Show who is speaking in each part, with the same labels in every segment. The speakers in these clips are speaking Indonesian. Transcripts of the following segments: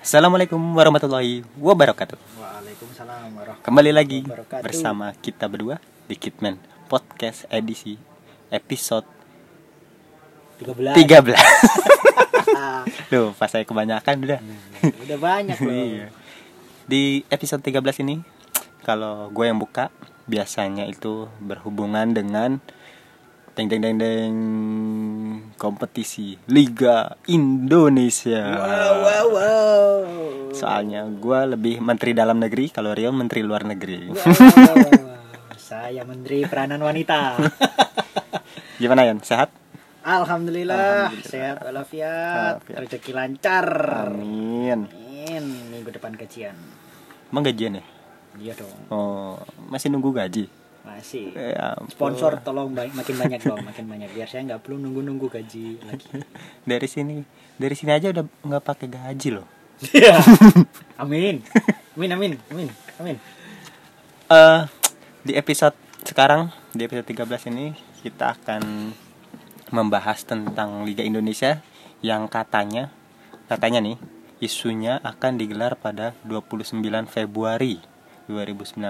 Speaker 1: Assalamualaikum warahmatullahi wabarakatuh.
Speaker 2: Waalaikumsalam warahmatullahi
Speaker 1: Kembali lagi
Speaker 2: Wabarakatuh.
Speaker 1: bersama kita berdua di Kitman Podcast edisi episode
Speaker 2: wabarakatuh. 13.
Speaker 1: 13. Duh, pas saya kebanyakan udah.
Speaker 2: Hmm. Udah banyak loh.
Speaker 1: Iya. Di episode 13 ini kalau gue yang buka biasanya itu berhubungan dengan deng deng deng deng kompetisi Liga Indonesia.
Speaker 2: Wow, wow, wow.
Speaker 1: Soalnya gue lebih menteri dalam negeri, kalau Rio menteri luar negeri.
Speaker 2: Wow, wow, wow. Saya Menteri Peranan Wanita.
Speaker 1: Gimana Yan? Sehat?
Speaker 2: Alhamdulillah, sehat walafiat,
Speaker 1: Walafiat.
Speaker 2: rezeki lancar.
Speaker 1: Amin.
Speaker 2: Amin. Minggu depan gajian.
Speaker 1: Emang gajian ya?
Speaker 2: Iya dong.
Speaker 1: Oh, masih nunggu gaji?
Speaker 2: Masih.
Speaker 1: Ya ampun.
Speaker 2: Sponsor tolong ba- makin banyak dong, makin banyak biar saya nggak perlu nunggu-nunggu gaji lagi.
Speaker 1: Dari sini, dari sini aja udah nggak pakai gaji loh.
Speaker 2: Iya. amin. Amin amin amin amin.
Speaker 1: eh di episode sekarang di episode 13 ini kita akan membahas tentang Liga Indonesia yang katanya katanya nih isunya akan digelar pada 29 Februari 2019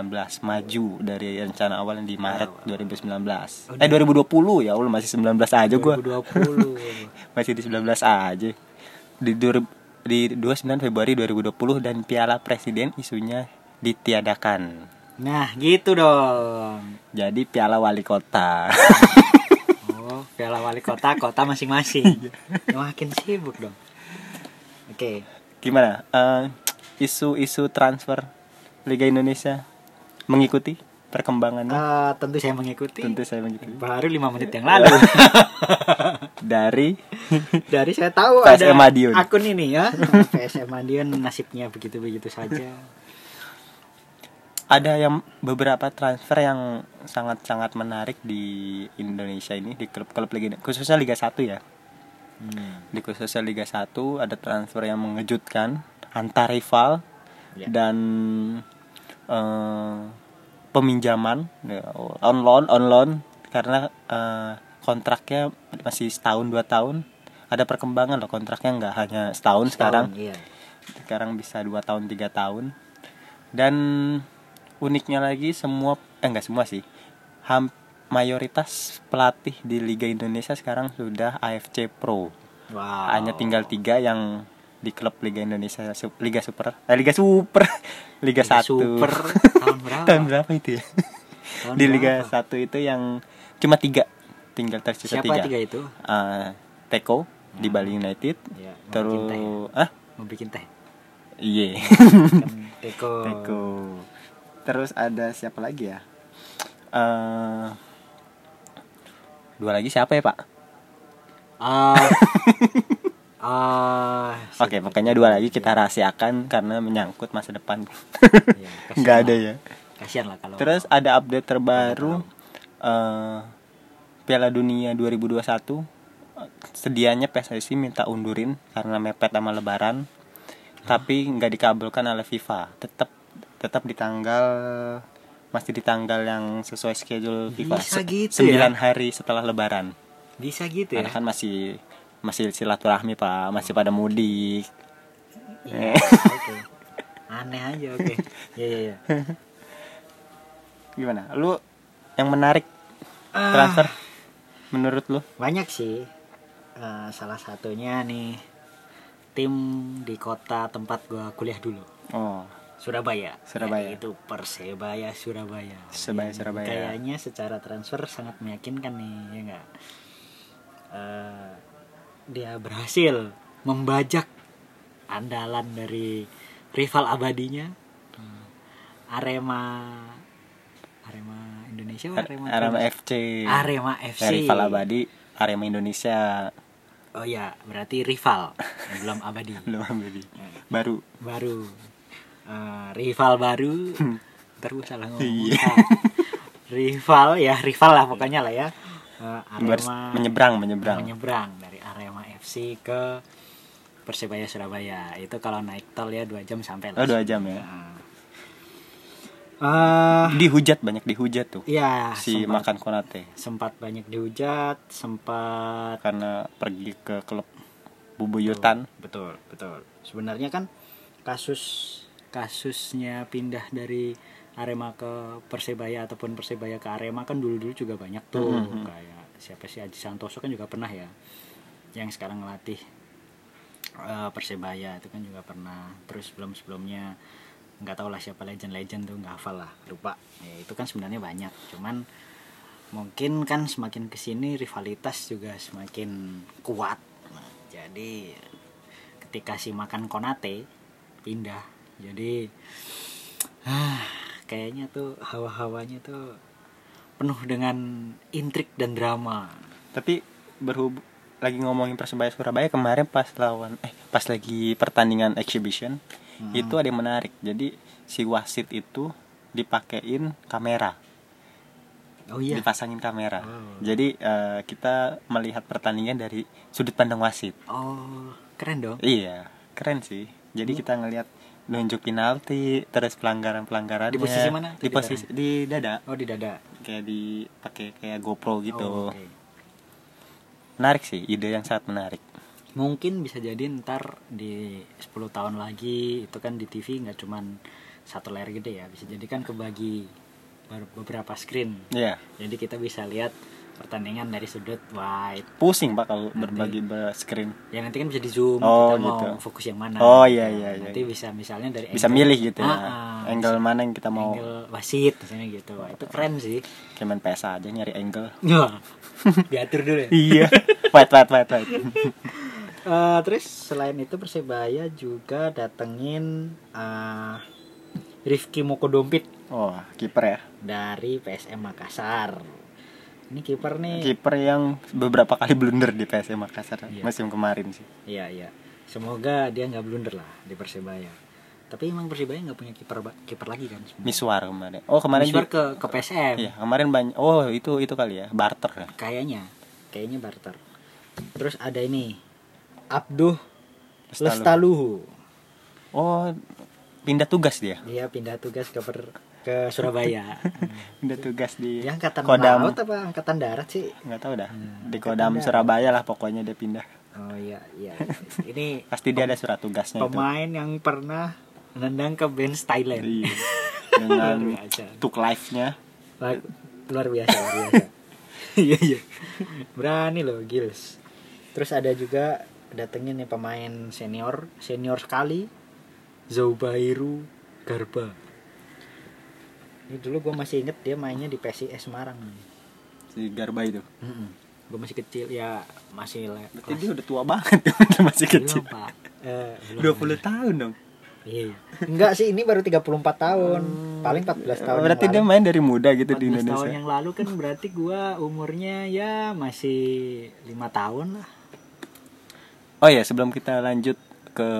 Speaker 1: maju dari rencana awal yang di Maret 2019 eh 2020 ya Allah masih 19 aja gua
Speaker 2: 2020.
Speaker 1: masih di 19 aja di dur- di 29 Februari 2020 dan Piala Presiden isunya ditiadakan
Speaker 2: Nah, gitu dong.
Speaker 1: jadi piala wali kota
Speaker 2: Oh, piala wali kota, kota masing-masing.
Speaker 1: Iya.
Speaker 2: Makin sibuk dong. Oke,
Speaker 1: gimana Eh, isu-isu transfer Liga Indonesia mengikuti perkembangannya
Speaker 2: eh, tentu saya mengikuti.
Speaker 1: Nah. tentu Iya. saya mengikuti
Speaker 2: Baru 5 menit yang lalu.
Speaker 1: dari
Speaker 2: Dari saya tahu
Speaker 1: PSM
Speaker 2: ada
Speaker 1: Madiun.
Speaker 2: akun ini ya. PSM Madiun nasibnya begitu-begitu saja.
Speaker 1: ada yang beberapa transfer yang sangat-sangat menarik di Indonesia ini di klub-klub Liga Indo- khususnya Liga 1 ya di khususnya Liga 1 ada transfer yang mengejutkan antar rival
Speaker 2: Ya.
Speaker 1: dan eh, peminjaman ya, on loan on loan karena eh, kontraknya masih setahun dua tahun ada perkembangan loh kontraknya nggak hanya setahun sekarang
Speaker 2: Tahun, iya.
Speaker 1: sekarang bisa dua tahun tiga tahun dan uniknya lagi semua eh enggak semua sih ham, mayoritas pelatih di Liga Indonesia sekarang sudah AFC Pro
Speaker 2: Wow.
Speaker 1: hanya tinggal tiga yang di klub Liga Indonesia Su- Liga Super eh, Liga Super Liga,
Speaker 2: Liga
Speaker 1: satu
Speaker 2: Super tahun berapa?
Speaker 1: tahun berapa itu ya
Speaker 2: Tahun
Speaker 1: di Liga
Speaker 2: berapa?
Speaker 1: satu itu yang cuma tiga tinggal tersisa
Speaker 2: Siapa tiga Hmm. itu?
Speaker 1: Eh, Teko di Bali United
Speaker 2: Ya,
Speaker 1: terus
Speaker 2: Mancing Teh.
Speaker 1: ah
Speaker 2: Mau bikin teh.
Speaker 1: iya
Speaker 2: Kan Teko.
Speaker 1: Teko. Terus ada siapa lagi ya? eh dua lagi siapa ya Pak?
Speaker 2: Ah. Ah.
Speaker 1: Oke, makanya dua lagi kita rahasiakan karena menyangkut masa depan.
Speaker 2: Iya, kasihan
Speaker 1: Nggak ada
Speaker 2: lah.
Speaker 1: ya.
Speaker 2: Kasihan lah kalau
Speaker 1: Terus ada update terbaru eh Piala Dunia 2021 eh, sedianya PSSI minta undurin karena mepet sama Lebaran, tapi nggak dikabulkan oleh FIFA. Tetap tetap di tanggal masih di tanggal yang sesuai schedule FIFA.
Speaker 2: Bisa
Speaker 1: 9
Speaker 2: gitu ya?
Speaker 1: hari setelah Lebaran.
Speaker 2: bisa gitu ya.
Speaker 1: Karena kan masih masih silaturahmi pak, masih pada mudik. Eh.
Speaker 2: Iya, oke. Aneh aja, oke. Ya, ya, ya.
Speaker 1: Gimana? Lu yang menarik
Speaker 2: Ah.
Speaker 1: transfer menurut lu?
Speaker 2: Banyak sih. Eh, salah satunya nih tim di kota tempat gua kuliah dulu.
Speaker 1: Oh,
Speaker 2: Surabaya.
Speaker 1: Surabaya.
Speaker 2: Itu Persebaya Surabaya.
Speaker 1: Surabaya,
Speaker 2: Dan
Speaker 1: Surabaya.
Speaker 2: Kayaknya secara transfer sangat meyakinkan nih, ya enggak? Eh, dia berhasil membajak andalan dari rival abadinya. Hmm. Arema Arema Indonesia apa Arema
Speaker 1: Arema
Speaker 2: Trans-
Speaker 1: FC.
Speaker 2: Arema FC.
Speaker 1: Dari Rival Abadi, Arema Indonesia.
Speaker 2: Oh ya, berarti rival yang belum abadi.
Speaker 1: Belum Abadi. Baru.
Speaker 2: baru eh, rival baru ntar gue salah ngomong
Speaker 1: Hmm. Iya.
Speaker 2: Ah, rival ya rival lah pokoknya lah ya Eh,
Speaker 1: Harus
Speaker 2: Arema
Speaker 1: menyeberang, menyeberang.
Speaker 2: menyeberang dari Arema FC ke Persebaya Surabaya itu kalau naik tol ya dua jam sampai lah
Speaker 1: Oh, dua jam ya.
Speaker 2: Ah,
Speaker 1: Dihujat banyak dihujat tuh.
Speaker 2: ya
Speaker 1: si
Speaker 2: sempat,
Speaker 1: makan Konate
Speaker 2: sempat banyak dihujat sempat
Speaker 1: karena pergi ke klub bubuyutan.
Speaker 2: betul betul sebenarnya kan kasus kasusnya pindah dari Arema ke Persebaya ataupun Persebaya ke Arema kan dulu-dulu juga banyak tuh kayak siapa sih Aji Santoso kan juga pernah ya yang sekarang ngelatih eh, Persebaya itu kan juga pernah terus belum sebelumnya nggak tahu lah siapa legend-legend tuh nggak hafal lah lupa ya itu kan sebenarnya banyak cuman mungkin kan semakin kesini rivalitas juga semakin kuat Nah, jadi ketika si makan konate pindah jadi ah, kayaknya tuh hawa-hawanya tuh penuh dengan intrik dan drama
Speaker 1: Tapi berhub lagi ngomongin Persebaya Surabaya kemarin pas lawan eh pas lagi pertandingan exhibition
Speaker 2: Hmm.
Speaker 1: itu ada yang menarik. Jadi si wasit itu dipakein kamera,
Speaker 2: oh iya
Speaker 1: dipasangin kamera.
Speaker 2: Oh.
Speaker 1: Jadi eh, kita melihat pertandingan dari sudut pandang wasit.
Speaker 2: oh keren dong
Speaker 1: Iya, keren sih. Jadi
Speaker 2: Iya.
Speaker 1: kita ngelihat nunjuk penalti, terus pelanggaran-pelanggaran
Speaker 2: Di posisi mana tuh
Speaker 1: Di
Speaker 2: di
Speaker 1: posisi di dada,
Speaker 2: oh di dada
Speaker 1: kayak di pakai kayak GoPro Iya. gitu.
Speaker 2: Oh, oke.
Speaker 1: Menarik sih, ide yang sangat menarik.
Speaker 2: mungkin bisa jadi ntar di 10 tahun lagi itu kan di TV nggak cuman satu layar gede ya bisa jadi kan kebagi ber- beberapa screen
Speaker 1: Iya.
Speaker 2: jadi kita bisa lihat pertandingan dari sudut wide
Speaker 1: Pusing pak kalau berbagi ber- screen.
Speaker 2: ya nanti kan bisa di zoom
Speaker 1: Oh,
Speaker 2: kita mau
Speaker 1: gitu.
Speaker 2: fokus yang mana Nah,
Speaker 1: Oh, iya, iya, iya,
Speaker 2: nanti
Speaker 1: iya.
Speaker 2: bisa misalnya dari
Speaker 1: Bisa
Speaker 2: angle-
Speaker 1: milih gitu ya.
Speaker 2: Ah, ah,
Speaker 1: angle mana yang kita mau?
Speaker 2: angle wasit misalnya gitu Wah, itu keren sih
Speaker 1: Kayak main PS aja nyari angle.
Speaker 2: Wah, diatur dulu ya
Speaker 1: iya. Wait, wait, wait, wait.
Speaker 2: Eh, terus selain itu persebaya juga datengin eh, Rifki Mokodompit
Speaker 1: Oh, kiper ya.
Speaker 2: dari PSM Makassar ini kiper nih
Speaker 1: Iya. Kiper yang beberapa kali blunder di PSM Makassar
Speaker 2: Iya.
Speaker 1: musim kemarin sih.
Speaker 2: Iya iya. Semoga dia nggak blunder lah di Persebaya. Tapi emang Persebaya nggak punya kiper ba- kiper lagi kan?
Speaker 1: Miswar kemarin. Oh, kemarin
Speaker 2: Miswar
Speaker 1: di-
Speaker 2: ke ke PSM.
Speaker 1: Iya, kemarin banyak. Oh, itu itu kali ya, barter ya.
Speaker 2: Kayaknya, kayaknya barter. Terus ada ini Abduh
Speaker 1: Lestaluhu.
Speaker 2: Lestaluhu.
Speaker 1: Oh, pindah tugas dia.
Speaker 2: Dia pindah tugas ke per- ke Surabaya.
Speaker 1: Pindah tugas di
Speaker 2: dia angkatan
Speaker 1: Kodam.
Speaker 2: laut apa angkatan darat sih?
Speaker 1: Nggak tahu dah.
Speaker 2: Hmm,
Speaker 1: Di Kodam
Speaker 2: pindah.
Speaker 1: Surabaya lah pokoknya dia pindah.
Speaker 2: Oh iya iya. Ini
Speaker 1: Pasti dia ada surat tugasnya Nah, itu.
Speaker 2: pemain yang pernah nendang ke bench Thailand.
Speaker 1: Iya.
Speaker 2: Luar
Speaker 1: Dengan
Speaker 2: biasa.
Speaker 1: tuk live-nya.
Speaker 2: Wah, luar biasa luar biasa iya iya berani loh Gils terus ada juga datengin nih pemain senior senior sekali Zaubairu Garba ini dulu gue masih inget dia mainnya di PSIS Semarang
Speaker 1: si Garba itu.
Speaker 2: gue masih kecil ya masih le-
Speaker 1: Berarti
Speaker 2: kelas-
Speaker 1: dia udah tua banget, dia masih kecil.
Speaker 2: belum pak Eh, belum.
Speaker 1: 20 tahun dong.
Speaker 2: iya iya. enggak sih ini baru 34 tahun paling 14 tahun yang
Speaker 1: Oh. Berarti
Speaker 2: lalu.
Speaker 1: dia main dari muda gitu di
Speaker 2: 14 tahun
Speaker 1: Indonesia.
Speaker 2: yang lalu kan berarti gua umurnya ya masih lima tahun lah.
Speaker 1: Oh ya, sebelum kita lanjut ke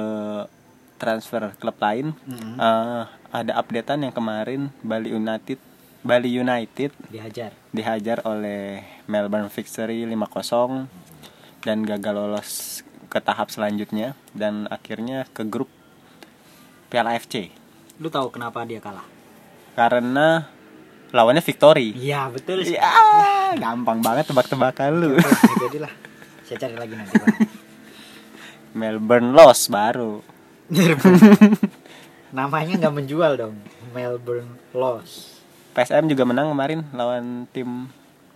Speaker 1: transfer klub lain, eh, ada updatean yang kemarin Bali United Bali United
Speaker 2: Dihajar.
Speaker 1: dihajar oleh Melbourne Victory 5-0 dan gagal lolos ke tahap selanjutnya dan akhirnya ke grup Piala FC
Speaker 2: Lu tahu kenapa dia kalah?
Speaker 1: karena lawannya Victory.
Speaker 2: Iya betul sih.
Speaker 1: Ya, gampang banget tebak-tebakan lu.
Speaker 2: Oke, Jadilah. Saya cari lagi nanti. Pak.
Speaker 1: Melbourne loss baru.
Speaker 2: Namanya nggak menjual dong. Melbourne Loss.
Speaker 1: PSM juga menang kemarin lawan tim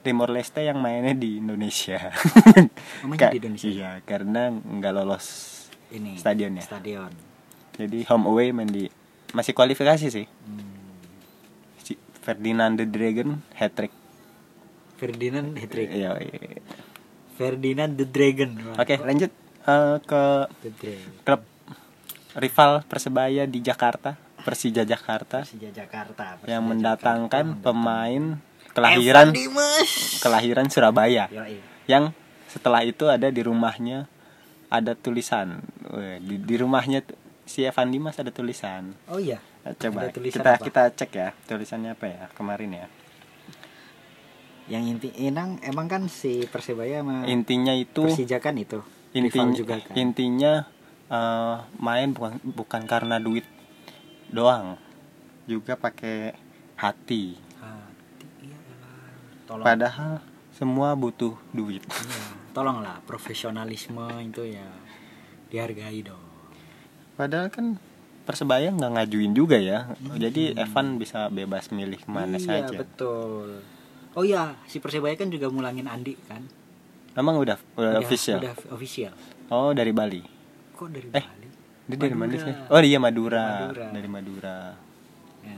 Speaker 1: Timor Leste yang mainnya di Indonesia.
Speaker 2: Namanya
Speaker 1: Ka-
Speaker 2: di Indonesia?
Speaker 1: Iya, karena nggak lolos
Speaker 2: Ini.
Speaker 1: stadionnya.
Speaker 2: Stadion. ya?
Speaker 1: Jadi home away main di masih kualifikasi sih.
Speaker 2: Hmm.
Speaker 1: Si Ferdinand the Dragon hat trick.
Speaker 2: Ferdinand Hattrick.
Speaker 1: Iya. iya.
Speaker 2: Ferdinand the Dragon. Wah,
Speaker 1: Oke, lanjut eh, ke
Speaker 2: The Dragon.
Speaker 1: klub rival Persebaya di Jakarta, Persija Jakarta
Speaker 2: Persija Jakarta. Persija
Speaker 1: yang
Speaker 2: Jakarta.
Speaker 1: mendatangkan pemain kelahiran
Speaker 2: Evan Dimas.
Speaker 1: kelahiran Surabaya.
Speaker 2: Yoi.
Speaker 1: yang setelah itu ada di rumahnya ada tulisan Weh, di, di rumahnya tu- si Evan Dimas ada tulisan
Speaker 2: Oh iya.
Speaker 1: Eh, coba
Speaker 2: Ada tulisan
Speaker 1: kita
Speaker 2: apa?
Speaker 1: kita cek ya tulisannya apa ya kemarin ya
Speaker 2: Yang inti enang emang kan si Persebaya sama
Speaker 1: intinya itu
Speaker 2: Persija kan itu.
Speaker 1: intinya
Speaker 2: rival juga kan.
Speaker 1: intinya eh, main bukan bukan karena duit doang juga pakai hati
Speaker 2: Hati, iya, elah. Tolong.
Speaker 1: padahal semua butuh duit
Speaker 2: Iya, Tolonglah profesionalisme itu ya dihargai dong.
Speaker 1: padahal kan persebaya nggak ngajuin juga ya jadi Evan bisa bebas milih kemana
Speaker 2: Hmm. iya,
Speaker 1: saja
Speaker 2: betul. Oh iya, si Persebaya kan juga mulangin Andi kan?
Speaker 1: emang udah udah
Speaker 2: Udah-
Speaker 1: official Eh.
Speaker 2: Udah official.
Speaker 1: oh dari Bali
Speaker 2: Kok dari Bali?
Speaker 1: dia dari mana
Speaker 2: Madura.
Speaker 1: sih oh iya Madura.
Speaker 2: Madura.
Speaker 1: dari Madura
Speaker 2: Ya,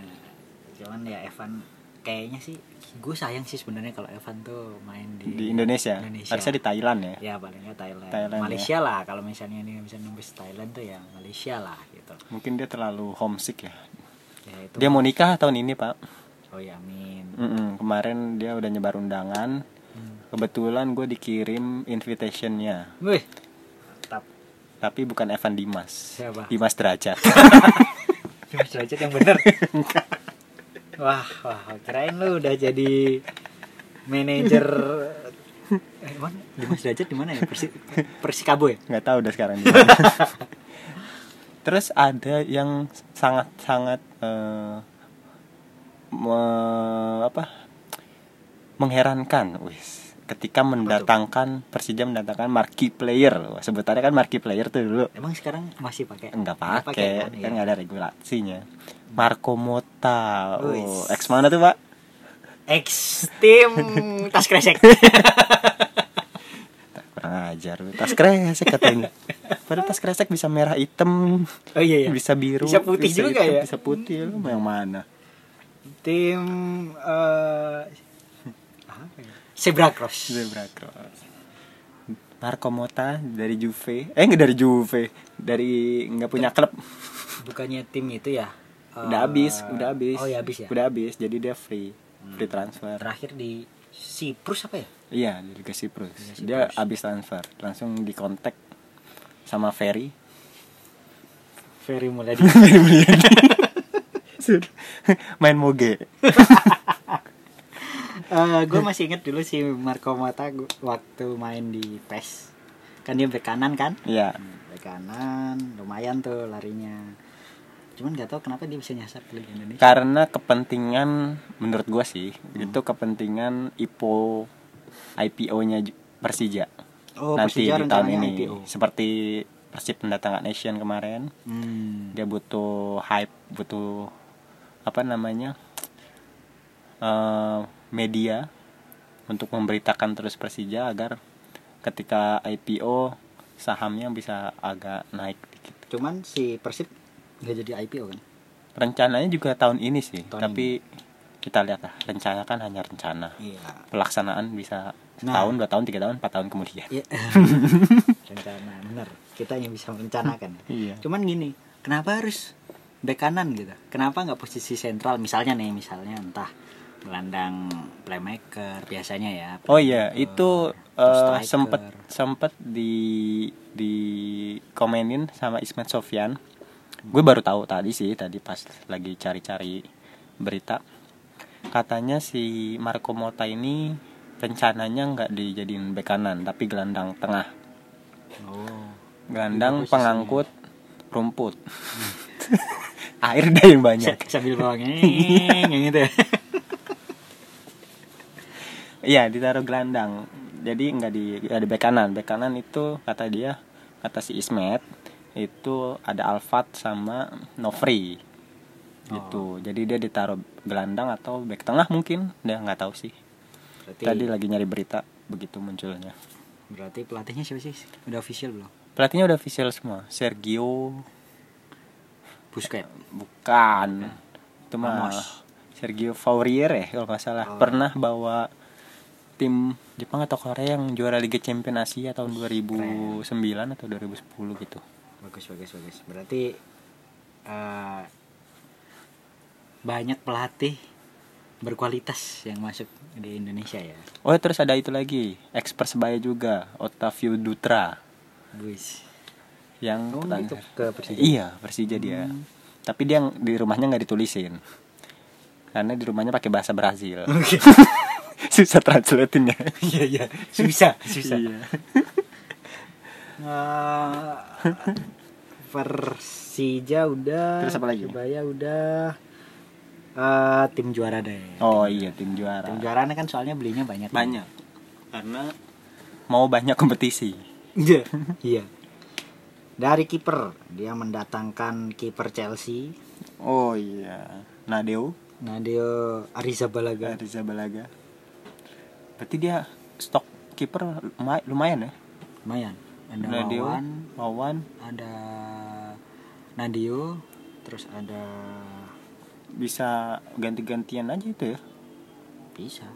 Speaker 2: cuman ya Evan kayaknya sih gue sayang sih sebenarnya kalau Evan tuh main di,
Speaker 1: di Iya. Indonesia.
Speaker 2: Indonesia.
Speaker 1: harusnya di Thailand ya
Speaker 2: ya palingnya Thailand,
Speaker 1: Thailand, ya.
Speaker 2: Malaysia lah kalau misalnya ini bisa nembus Thailand tuh ya Malaysia lah gitu
Speaker 1: mungkin dia terlalu homesick ya
Speaker 2: ya itu
Speaker 1: dia mau nikah tahun ini pak
Speaker 2: oh ya amin
Speaker 1: Mm-mm, kemarin dia udah nyebar undangan kebetulan gue dikirim invitationnya
Speaker 2: wih tetap
Speaker 1: tapi bukan Evan Dimas
Speaker 2: Siapa?
Speaker 1: Dimas Derajat
Speaker 2: Mas Derajat yang bener wah wah kirain lu udah jadi manajer eh, mana? Dimas Derajat di mana ya Persi Persikabo ya
Speaker 1: nggak tahu udah sekarang dia. terus ada yang sangat sangat eh, me- apa mengherankan wis ketika mendatangkan Persija mendatangkan marquee player Wah, sebutannya kan marquee player tuh dulu
Speaker 2: emang sekarang masih pakai
Speaker 1: nggak pakai kan
Speaker 2: ya?
Speaker 1: nggak ada regulasinya Marco Mota oh,
Speaker 2: Wis.
Speaker 1: ex mana tuh pak
Speaker 2: X tim tas kresek
Speaker 1: kurang ajar lu. tas kresek katanya padahal tas kresek bisa merah hitam
Speaker 2: oh iya iya
Speaker 1: bisa biru
Speaker 2: Bisa putih juga
Speaker 1: hitam,
Speaker 2: ya?
Speaker 1: bisa putih lu mau yang mana
Speaker 2: tim eh apa ya? zebra cross
Speaker 1: zebra cross Marco Mota dari Juve eh nggak dari Juve dari nggak punya klub
Speaker 2: bukannya tim itu ya eh,
Speaker 1: udah habis udah habis
Speaker 2: oh ya Hmm. habis ya
Speaker 1: udah habis jadi dia free free transfer
Speaker 2: terakhir di Siprus apa ya
Speaker 1: iya di Liga Siprus
Speaker 2: Liga
Speaker 1: dia
Speaker 2: Siprus.
Speaker 1: habis transfer langsung di kontak sama Ferry
Speaker 2: Ferry Mulyadi
Speaker 1: main moge
Speaker 2: gue Eh, masih inget dulu si Marco Mata gua- waktu main di PES kan dia bek kanan kan
Speaker 1: iya
Speaker 2: bek kanan lumayan tuh larinya cuman gak tahu kenapa dia bisa nyasar ke Liga Indonesia
Speaker 1: karena kepentingan menurut gua sih
Speaker 2: Hmm.
Speaker 1: itu kepentingan IPO IPO-nya Ju- Persija
Speaker 2: Oh,
Speaker 1: nanti di tahun
Speaker 2: Persija rencananya
Speaker 1: ini
Speaker 2: IPO.
Speaker 1: seperti Persib pendatangan Asian kemarin
Speaker 2: Hmm.
Speaker 1: dia butuh hype butuh apa namanya eh, media untuk memberitakan terus Persija agar ketika IPO sahamnya bisa agak naik dikit
Speaker 2: cuman si Persib nggak jadi IPO kan
Speaker 1: rencananya juga tahun ini sih
Speaker 2: Tahun
Speaker 1: tapi kita lihat lah rencana kan hanya rencana
Speaker 2: iya
Speaker 1: pelaksanaan bisa
Speaker 2: Nah.
Speaker 1: setahun dua tahun tiga tahun empat tahun kemudian
Speaker 2: Iya. rencana bener kita yang bisa merencanakan
Speaker 1: Iya.
Speaker 2: cuman gini kenapa harus bek kanan gitu kenapa nggak posisi sentral misalnya nih misalnya entah gelandang playmaker biasanya ya
Speaker 1: oh iya itu
Speaker 2: Terus
Speaker 1: eh,
Speaker 2: striker.
Speaker 1: sempet sempet di di komenin sama Ismet Sofyan gue baru tahu tadi sih tadi pas lagi cari-cari berita katanya si Marco Mota ini rencananya nggak dijadiin bek kanan tapi gelandang tengah
Speaker 2: oh
Speaker 1: gelandang
Speaker 2: Itu posisinya.
Speaker 1: pengangkut rumput air deh yang banyak
Speaker 2: sambil bawang yang gitu ya
Speaker 1: Iya ditaruh gelandang. Jadi nggak di nggak di bek kanan. Bek kanan itu kata dia kata si Ismet itu ada Alfat sama Novri gitu. Jadi dia ditaruh gelandang atau bek tengah mungkin. Dia nggak tahu sih.
Speaker 2: berarti
Speaker 1: Tadi lagi nyari berita begitu munculnya.
Speaker 2: berarti pelatihnya siapa sih udah official belum
Speaker 1: Pelatihnya udah official semua. Sergio
Speaker 2: Busquets
Speaker 1: bukan. Itu
Speaker 2: Ah.
Speaker 1: mah
Speaker 2: Ramos.
Speaker 1: Sergio Fourier ya kalau nggak salah.
Speaker 2: Oh.
Speaker 1: Pernah bawa tim Jepang atau Korea yang juara Liga Champion Asia tahun 2009 atau 2010 gitu.
Speaker 2: bagus bagus bagus berarti eh, banyak pelatih berkualitas yang masuk di Indonesia ya
Speaker 1: Oh terus ada itu lagi ex Persebaya juga Otavio Dutra
Speaker 2: Buis
Speaker 1: yang
Speaker 2: Oh,
Speaker 1: petang-
Speaker 2: itu ke Persija? Hmm.
Speaker 1: Iya Persija dia. Tapi dia yang- di rumahnya nggak ditulisin karena di rumahnya pakai bahasa Brazil. Susah translatinnya.
Speaker 2: iya iya susah
Speaker 1: Iya.
Speaker 2: Eh, Persija udah
Speaker 1: Terus apa lagi?
Speaker 2: Persebaya udah Eh, tim juara deh
Speaker 1: Oh iya tim juara.
Speaker 2: tim juara kan soalnya belinya banyak
Speaker 1: Banyak karena mau banyak kompetisi.
Speaker 2: Iya. Iya. Dari kiper, dia mendatangkan kiper Chelsea,
Speaker 1: Oh iya. Nadeo
Speaker 2: Nadio Arrizabalaga.
Speaker 1: Riza Balaga. Berarti dia stok kiper lumay- lumayan ya.
Speaker 2: Lumayan. Ada
Speaker 1: Nadeo,
Speaker 2: Wawan,
Speaker 1: Wawan,
Speaker 2: ada Nadio, terus ada
Speaker 1: bisa ganti-gantian aja itu ya.
Speaker 2: bisa,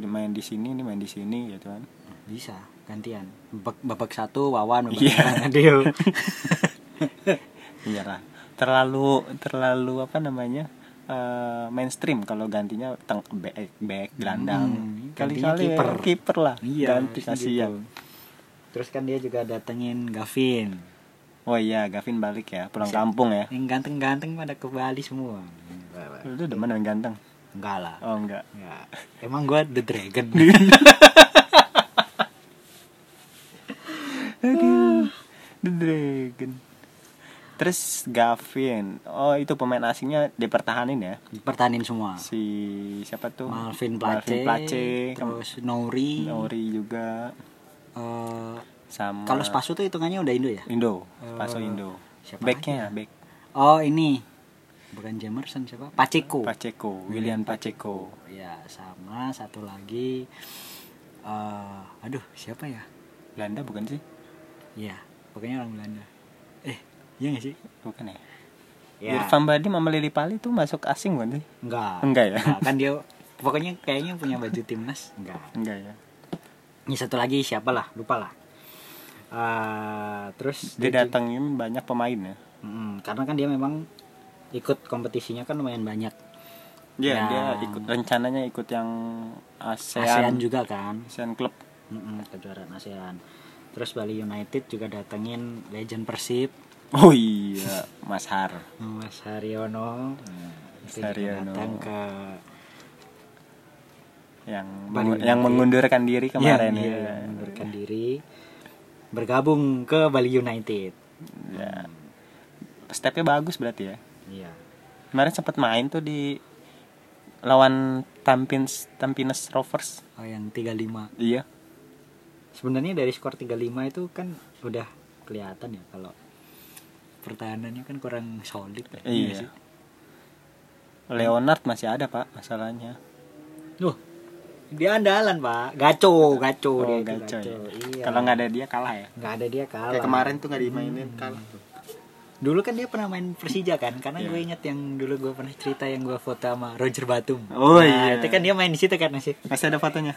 Speaker 1: Dia main di sini, ini main di sini gitu kan.
Speaker 2: bisa gantian. Babak, babak satu Wawan, babak
Speaker 1: Iya.
Speaker 2: kedua Nadio.
Speaker 1: Iya lah. Terlalu terlalu apa namanya? eh, mainstream kalau gantinya teng back back gelandang
Speaker 2: Hmm, gantinya
Speaker 1: kali-kali ya,
Speaker 2: kiper.
Speaker 1: kiper lah
Speaker 2: Iya,
Speaker 1: ganti
Speaker 2: harusnya
Speaker 1: kasihan
Speaker 2: terus kan dia juga datengin Gavin.
Speaker 1: oh iya Gavin balik ya pulang kampung ya
Speaker 2: Yang ganteng-ganteng pada ke Bali semua.
Speaker 1: lu tuh demen dengan ganteng
Speaker 2: Enggak lah.
Speaker 1: oh enggak
Speaker 2: Ya, emang gua the dragon.
Speaker 1: Aduh, Ah. The Dragon. Terus Gavin. Oh, itu pemain asingnya dipertahanin ya.
Speaker 2: Pertahanin semua.
Speaker 1: Si siapa tuh?
Speaker 2: Malvin Place,
Speaker 1: Place,
Speaker 2: terus Nouri.
Speaker 1: Nori juga
Speaker 2: eh,
Speaker 1: sama
Speaker 2: kalau Spasu tuh hitungannya udah Indo ya?
Speaker 1: Indo, Paso Indo.
Speaker 2: siapa
Speaker 1: Backnya back
Speaker 2: Oh, ini. Bukan Jamerson siapa? Paceco.
Speaker 1: Pacheco, William Pacheco.
Speaker 2: Ya, sama satu lagi eh aduh, siapa ya?
Speaker 1: Belanda bukan sih?
Speaker 2: Iya, pokoknya orang Belanda. Eh, iya gak sih?
Speaker 1: Bukan ya?
Speaker 2: Ya.
Speaker 1: Irfan Badim sama Lili Pali tuh masuk asing bukan sih?
Speaker 2: Enggak.
Speaker 1: Enggak ya?
Speaker 2: kan dia pokoknya kayaknya punya baju timnas. Enggak.
Speaker 1: Enggak ya.
Speaker 2: Ini satu lagi siapa lah? Lupa lah. Eh, terus
Speaker 1: Dia
Speaker 2: datang
Speaker 1: datangin banyak pemain ya.
Speaker 2: Mm, karena kan dia memang ikut kompetisinya kan lumayan banyak.
Speaker 1: Iya,
Speaker 2: Ya.
Speaker 1: dia ikut rencananya ikut yang ASEAN,
Speaker 2: ASEAN juga kan,
Speaker 1: ASEAN Club.
Speaker 2: Mm-mm, kejuaraan ASEAN. Terus Bali United juga datengin legend Persib,
Speaker 1: Oh iya, Mas Har.
Speaker 2: Mas Haryono. Mm,
Speaker 1: Mas
Speaker 2: itu juga
Speaker 1: Haryono.
Speaker 2: Datang ke
Speaker 1: Yang
Speaker 2: Bali
Speaker 1: mengu- yang
Speaker 2: United.
Speaker 1: mengundurkan diri kemarin
Speaker 2: Iya,
Speaker 1: ya.
Speaker 2: iya, mengundurkan diri bergabung ke Bali United.
Speaker 1: Ya. Stepnya bagus berarti ya.
Speaker 2: Iya.
Speaker 1: Kemarin sempat main tuh di lawan Tampines Tampines Rovers.
Speaker 2: Oh yang 35.
Speaker 1: Iya.
Speaker 2: Sebenarnya dari skor 35 itu kan udah kelihatan ya kalau pertahanannya kan kurang solid ya.
Speaker 1: Iya.
Speaker 2: nggak sih?
Speaker 1: Leonard masih ada, Pak, masalahnya.
Speaker 2: Loh, dia andalan pak, gaco,
Speaker 1: Oh,
Speaker 2: gaco dia itu,
Speaker 1: gaco ya.
Speaker 2: Iya.
Speaker 1: Kalau nggak ada dia kalah ya.
Speaker 2: Nggak ada dia kalah.
Speaker 1: Kayak kemarin tuh nggak dimainin kalah tuh.
Speaker 2: Dulu kan dia pernah main Persija kan, karena
Speaker 1: Iya.
Speaker 2: gue inget yang dulu gue pernah cerita yang gue foto sama Roger Batum.
Speaker 1: Oh, iya.
Speaker 2: Itu kan dia main di situ kan masih.
Speaker 1: Masih ada fotonya.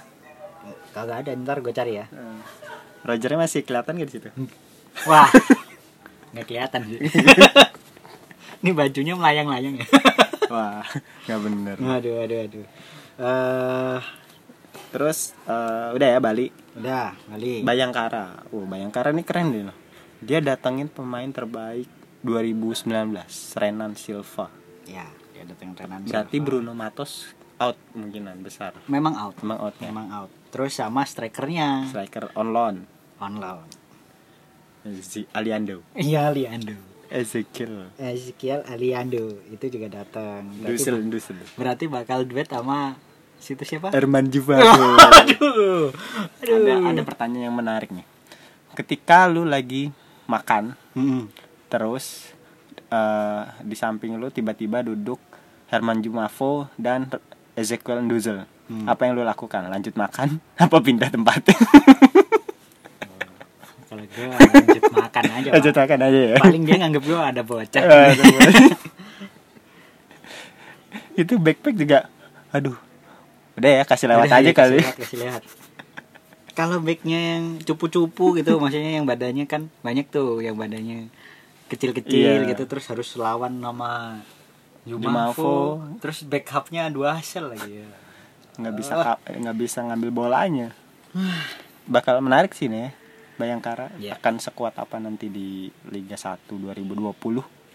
Speaker 2: Kagak ada, ntar gue cari ya.
Speaker 1: Rogernya masih kelihatan gak di situ?
Speaker 2: Hmm. Wah, nggak kelihatan sih. Ini bajunya melayang-layang ya.
Speaker 1: Wah, nggak bener.
Speaker 2: aduh, aduh, aduh. Eh,
Speaker 1: Terus eh, udah ya Bali.
Speaker 2: udah, kali.
Speaker 1: Bayangkara. Oh, Bayangkara ini keren deh loh. Dia datangin pemain terbaik 2019, Renan Silva.
Speaker 2: Ya, dia datang Renan.
Speaker 1: Berarti
Speaker 2: Silva.
Speaker 1: Bruno Matos out kemungkinan besar.
Speaker 2: memang out,
Speaker 1: Emang out ya.
Speaker 2: memang out. Terus sama strikernya.
Speaker 1: Striker on loan.
Speaker 2: on loan.
Speaker 1: Z Aliando.
Speaker 2: Iya Aliando.
Speaker 1: Ezekiel.
Speaker 2: Ezekiel Aliando itu juga datang. Berarti,
Speaker 1: Dusel, Dusel.
Speaker 2: berarti bakal duet sama situ siapa?
Speaker 1: Herman Juvado.
Speaker 2: Aduh.
Speaker 1: Eh. ada, ada pertanyaan yang menarik nih. Ketika lu lagi makan,
Speaker 2: Mm-mm.
Speaker 1: terus eh, di samping lu tiba-tiba duduk Herman Jumafo dan Ezekiel Duzel. Apa yang lu lakukan? Lanjut makan? Apa pindah tempat?
Speaker 2: Kalau gue lanjut makan aja. Pak.
Speaker 1: Lanjut Eh. makan aja ya.
Speaker 2: Paling dia nganggep gue ada bocah.
Speaker 1: Itu backpack juga. Aduh. Udah ya kasih lewat
Speaker 2: Udah,
Speaker 1: aja kali.
Speaker 2: iya, kasih lihat, kasih lihat. Kalau backnya yang cupu-cupu gitu, maksudnya yang badannya kan banyak tuh, yang badannya kecil-kecil
Speaker 1: Iya.
Speaker 2: gitu, terus harus lawan nama
Speaker 1: Jumafo.
Speaker 2: Jumafo, terus backupnya dua hasil lagi ya.
Speaker 1: Nggak bisa ka- nggak bisa ngambil bolanya. Bakal menarik sih nih ya. Bayangkara
Speaker 2: Iya.
Speaker 1: akan sekuat apa nanti di Liga 1 2020.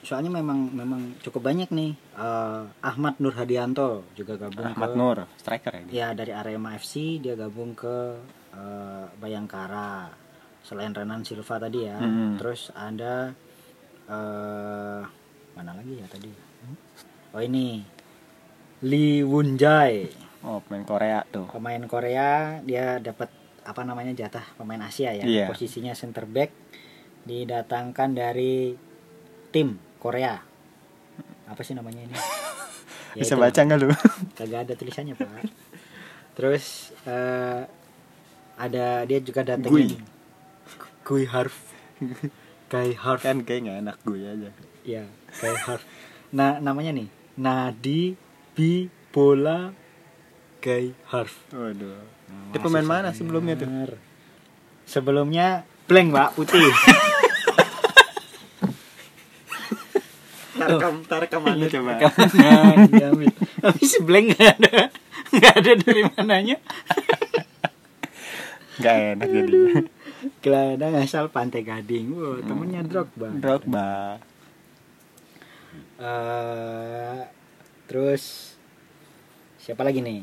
Speaker 2: Soalnya memang memang cukup banyak nih. Eh, Ahmad Nur Hadianto juga gabung
Speaker 1: Ahmad
Speaker 2: ke
Speaker 1: Nur, striker ya dia.
Speaker 2: ya dari Arema FC dia gabung ke eh, Bayangkara selain Renan Silva tadi ya
Speaker 1: Mhm.
Speaker 2: terus ada eh mana lagi ya tadi oh ini Lee Wunjai
Speaker 1: Oh, pemain Korea tuh.
Speaker 2: pemain Korea dia dapat apa namanya jatah pemain Asia ya
Speaker 1: Iya.
Speaker 2: posisinya center back didatangkan dari tim Korea apa sih namanya ini Ya,
Speaker 1: Bisa
Speaker 2: itulah.
Speaker 1: baca nggak lu?
Speaker 2: kagak ada tulisannya pak terus eh, ada dia juga datengin Gui Harf Guy Harf
Speaker 1: kan kayak nggak enak gue aja.
Speaker 2: ya Guy Harf nah namanya nih Nadi Bi Bola Guy Harf
Speaker 1: Waduh.
Speaker 2: Nah,
Speaker 1: Dia pemain
Speaker 2: masih
Speaker 1: mana
Speaker 2: sama.
Speaker 1: sebelumnya tuh?
Speaker 2: Bener. sebelumnya blank pak putih
Speaker 1: Tarkam, tarkam mana coba?
Speaker 2: Nah, diambil. habis blank nggak ada nggak ada dari mananya
Speaker 1: Gak enak jadi.
Speaker 2: Gelandang asal Pantai Gading. Wow, temennya Drogba.
Speaker 1: Drogba.
Speaker 2: Eh, terus siapa lagi nih?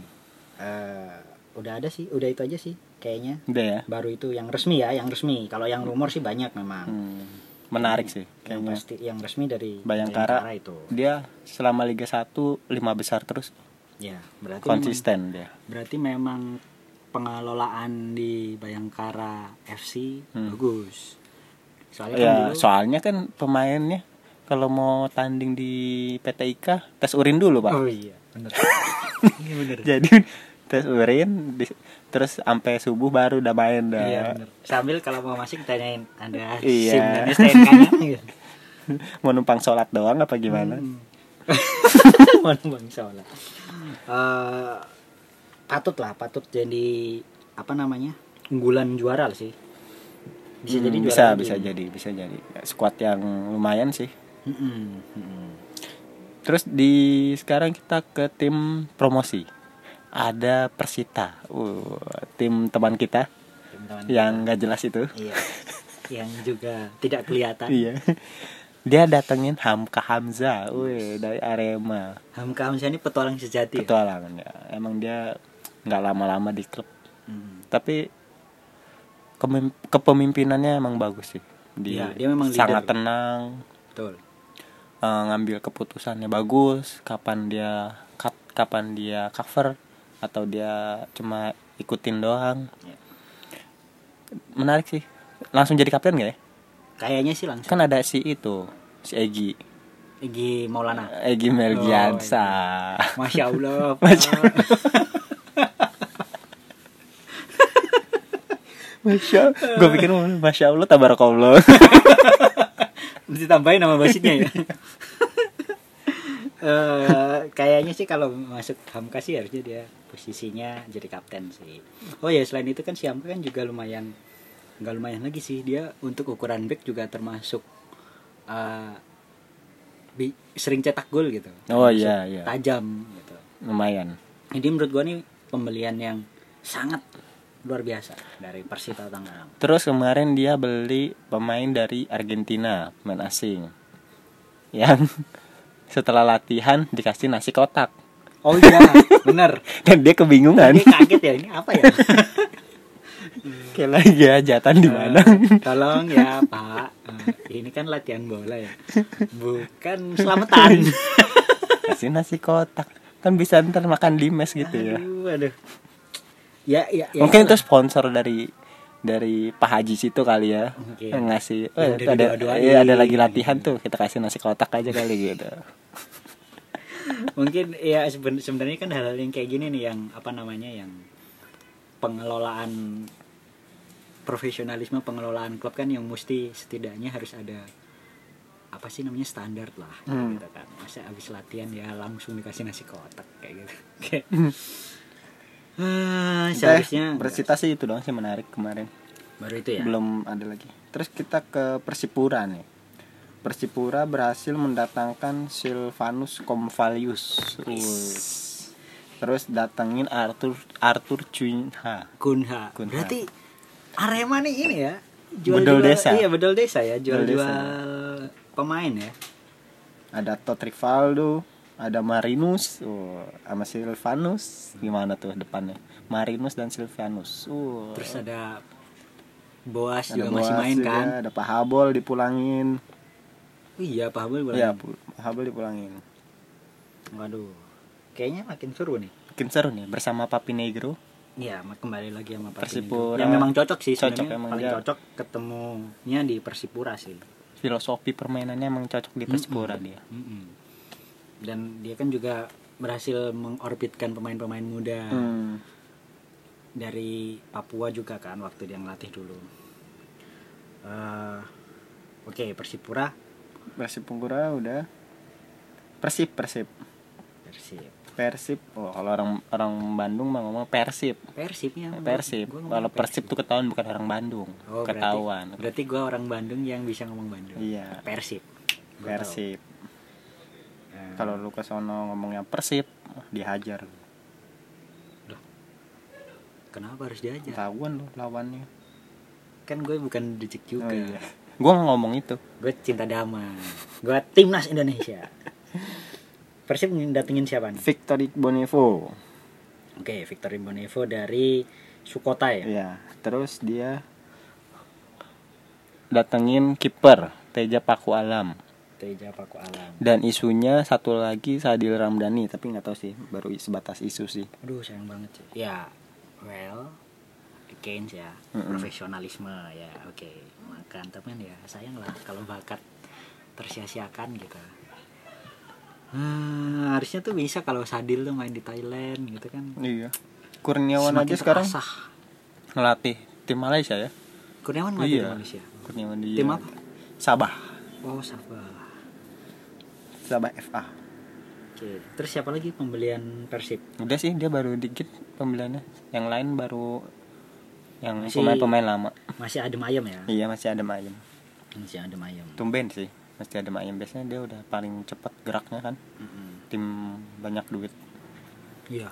Speaker 2: Eh, udah ada sih, udah itu aja sih kayaknya.
Speaker 1: Udah ya.
Speaker 2: Baru itu yang resmi ya, yang resmi. Kalau yang rumor sih banyak memang.
Speaker 1: Hmm, menarik sih
Speaker 2: yang
Speaker 1: kayaknya.
Speaker 2: pasti yang resmi dari
Speaker 1: Bayangkara. Hmm.
Speaker 2: itu.
Speaker 1: Dia selama Liga 1 lima besar terus
Speaker 2: Ya, berarti memang-
Speaker 1: konsisten dia.
Speaker 2: berarti memang pengelolaan di Bayangkara FC
Speaker 1: Hmm.
Speaker 2: bagus. Soalnya kan
Speaker 1: Ya,
Speaker 2: dulu-
Speaker 1: soalnya kan pemainnya kalau mau tanding di PT IKA tes urin dulu, Pak.
Speaker 2: Oh iya, bener. Iya, bener.
Speaker 1: Jadi tes urin di- terus sampai subuh baru udah main dah.
Speaker 2: Iya bener. Sambil kalau mau masuk tanyain Anda
Speaker 1: Iya.
Speaker 2: SIM dan STNK -nya. Gitu.
Speaker 1: mau numpang sholat doang apa gimana?
Speaker 2: Hmm. Mana Bang Sola. Eh, patut lah, patut jadi apa namanya? Unggulan juara lah sih. Bisa jadi
Speaker 1: Hmm,
Speaker 2: juara.
Speaker 1: bisa
Speaker 2: lagi.
Speaker 1: bisa jadi bisa jadi squad yang lumayan sih
Speaker 2: Mm-mm, mm-mm.
Speaker 1: terus di sekarang kita ke tim promosi ada Persita uh, tim teman kita
Speaker 2: Teman-teman.
Speaker 1: yang nggak jelas itu
Speaker 2: Iya. Yang juga tidak kelihatan.
Speaker 1: iya dia datengin Hamka Hamzah wih, dari Arema
Speaker 2: Hamka Hamzah ini petualang sejati. ya?
Speaker 1: petualangan ya emang dia nggak lama-lama di klub
Speaker 2: Hmm.
Speaker 1: tapi kemim- kepemimpinannya emang bagus sih dia,
Speaker 2: Iya, dia memang
Speaker 1: sangat
Speaker 2: leader.
Speaker 1: tenang
Speaker 2: Betul.
Speaker 1: eh, ngambil keputusannya bagus kapan dia cut kapan dia cover atau dia cuma ikutin doang
Speaker 2: Ya.
Speaker 1: menarik sih langsung jadi kapten gak ya
Speaker 2: Kayaknya sih langsung.
Speaker 1: kan ada si itu si Egi
Speaker 2: Egy Maulana.
Speaker 1: Egi Mergiansa
Speaker 2: Masya Allah. Pak.
Speaker 1: Masya Masya gue pikir mau, Masya Allah tabarakallah
Speaker 2: Mesti tambahin nama basitnya ya. Eh, kayaknya sih kalau masuk Hamka sih harusnya dia posisinya jadi kapten sih. Oh ya selain itu kan si Hamka kan juga lumayan nggak lumayan lagi sih dia untuk ukuran back juga termasuk eh, bi- sering cetak gol gitu.
Speaker 1: Oh,
Speaker 2: Termasuk
Speaker 1: iya, iya.
Speaker 2: Tajam gitu.
Speaker 1: lumayan
Speaker 2: Jadi menurut gua nih pembelian yang sangat luar biasa dari Persita Tangerang.
Speaker 1: terus kemarin dia beli pemain dari Argentina pemain asing yang setelah latihan dikasih nasi kotak
Speaker 2: Oh iya, bener.
Speaker 1: dan dia kebingungan
Speaker 2: Dia kaget ya ini apa ya?
Speaker 1: kayak lagi hajatan di mana
Speaker 2: Eh, Tolong ya Pak, Eh, ini kan latihan bola ya, bukan selamatan.
Speaker 1: Eh, kasih nasi kotak kan bisa ntar makan di mes gitu ya
Speaker 2: aduh, aduh. Ya, ya, ya
Speaker 1: mungkin itu
Speaker 2: itulah.
Speaker 1: sponsor dari dari Pak Haji situ kali ya
Speaker 2: Mungkin.
Speaker 1: yang ngasih "Eh,
Speaker 2: Yang udah
Speaker 1: itu ada
Speaker 2: didoa-doain."
Speaker 1: iya, ada lagi latihan tuh kita kasih nasi kotak aja kali gitu
Speaker 2: mungkin ya seben- sebenarnya kan hal-hal yang kayak gini nih yang apa namanya yang pengelolaan profesionalisme pengelolaan klub kan yang mesti setidaknya harus ada apa sih namanya standar lah
Speaker 1: Hmm.
Speaker 2: gitu kan masa habis latihan ya langsung dikasih nasi kotak kayak gitu
Speaker 1: Hmm.
Speaker 2: Kayak- Ah, seharusnya
Speaker 1: Persita sih itu doang sih menarik kemarin
Speaker 2: baru itu ya
Speaker 1: belum ada lagi terus kita ke Persipura nih Persipura berhasil mendatangkan Silvanus Komvalius Wuih. terus datengin Arthur Arthur Cunha
Speaker 2: Kunha.
Speaker 1: Kunha.
Speaker 2: Berarti Arema nih ini ya.
Speaker 1: Bedol desa.
Speaker 2: Iya, bedol desa ya,
Speaker 1: Bedol
Speaker 2: jual-jual
Speaker 1: desa.
Speaker 2: pemain ya.
Speaker 1: ada Tot Rivaldo, ada Marinus, uh, sama Silvanus, gimana tuh depannya? Marinus dan Silvanus. Uh,
Speaker 2: Terus ada Boas
Speaker 1: ada
Speaker 2: juga
Speaker 1: Boas
Speaker 2: masih main
Speaker 1: juga,
Speaker 2: kan.
Speaker 1: Ada Pak Habol dipulangin.
Speaker 2: Iya, Pak Habul
Speaker 1: Iya,
Speaker 2: boleh.
Speaker 1: Pu- Pak Habol dipulangin.
Speaker 2: Waduh. Kayaknya makin seru nih.
Speaker 1: Makin seru nih bersama Papi Negro.
Speaker 2: Iya, ma- kembali lagi sama Pak
Speaker 1: Persipura.
Speaker 2: Yang memang cocok sih
Speaker 1: Cocok,
Speaker 2: sebenarnya
Speaker 1: emang iya.
Speaker 2: paling
Speaker 1: dia.
Speaker 2: cocok ketemunya di Persipura sih.
Speaker 1: Filosofi permainannya emang cocok di Persipura dia.
Speaker 2: Mm-mm. Dan dia kan juga berhasil mengorbitkan pemain-pemain muda
Speaker 1: Hmm.
Speaker 2: dari Papua juga kan waktu dia ngelatih dulu. Eh, Oke, Persipura,
Speaker 1: Persib Pungkura udah. Persib, Persib.
Speaker 2: Persib.
Speaker 1: Persib. Oh, kalau orang orang Bandung mah ngomong Persib.
Speaker 2: Persibnya. apa? ya,
Speaker 1: Eh, Persib.
Speaker 2: Gua ngomong
Speaker 1: Kalau Persib tuh ketahuan bukan orang Bandung.
Speaker 2: Oh, berarti-
Speaker 1: ketahuan.
Speaker 2: Berarti gue orang Bandung yang bisa ngomong Bandung.
Speaker 1: Iya.
Speaker 2: Persib. Gua
Speaker 1: Persib.
Speaker 2: tahu. Eh,
Speaker 1: Kalau lu ke sono ngomongnya Persib, dihajar.
Speaker 2: kenapa harus diajak?
Speaker 1: Ketahuan lu lawannya.
Speaker 2: Kan gue bukan dejek
Speaker 1: Oh,
Speaker 2: juga.
Speaker 1: iya. Gua nggak ngomong itu.
Speaker 2: Gue cinta damai. Gue timnas Indonesia. Persib datengin siapa nih?
Speaker 1: Victory Bonivo.
Speaker 2: Oke, Victor Imbonevo dari ya? Sukotai.
Speaker 1: Iya, terus dia datengin kiper Teja Paku Alam
Speaker 2: Teja Paku Alam.
Speaker 1: dan isunya satu lagi Sadil Ramdhani tapi nggak tahu sih baru i- sebatas isu sih
Speaker 2: Aduh, sayang banget sih. Ya, well, again ya, profesionalisme ya, oke. Makan, tapi kan ya sayang lah kalau bakat tersia-siakan gitu. Hmm, harusnya tuh bisa kalau Sadil tuh main di Thailand gitu kan.
Speaker 1: iya Kurniawan
Speaker 2: Semakin
Speaker 1: aja sekarang
Speaker 2: terasah.
Speaker 1: ngelatih tim Malaysia ya
Speaker 2: Kurniawan main di
Speaker 1: Iya.
Speaker 2: Malaysia.
Speaker 1: Kurniawan di
Speaker 2: Tim apa?
Speaker 1: Sabah
Speaker 2: Oh, sabar.
Speaker 1: Sabah FA
Speaker 2: Oke, terus siapa lagi pembelian Persib?
Speaker 1: udah sih dia baru dikit pembeliannya yang lain baru yang
Speaker 2: Masih-
Speaker 1: pemain-pemain lama
Speaker 2: Masih adem ayem ya?
Speaker 1: iya masih ada ayam
Speaker 2: Masih adem ayem.
Speaker 1: tumben sih masih ada ayam biasanya dia udah paling cepat geraknya kan
Speaker 2: Mm-mm.
Speaker 1: tim banyak duit
Speaker 2: Iya.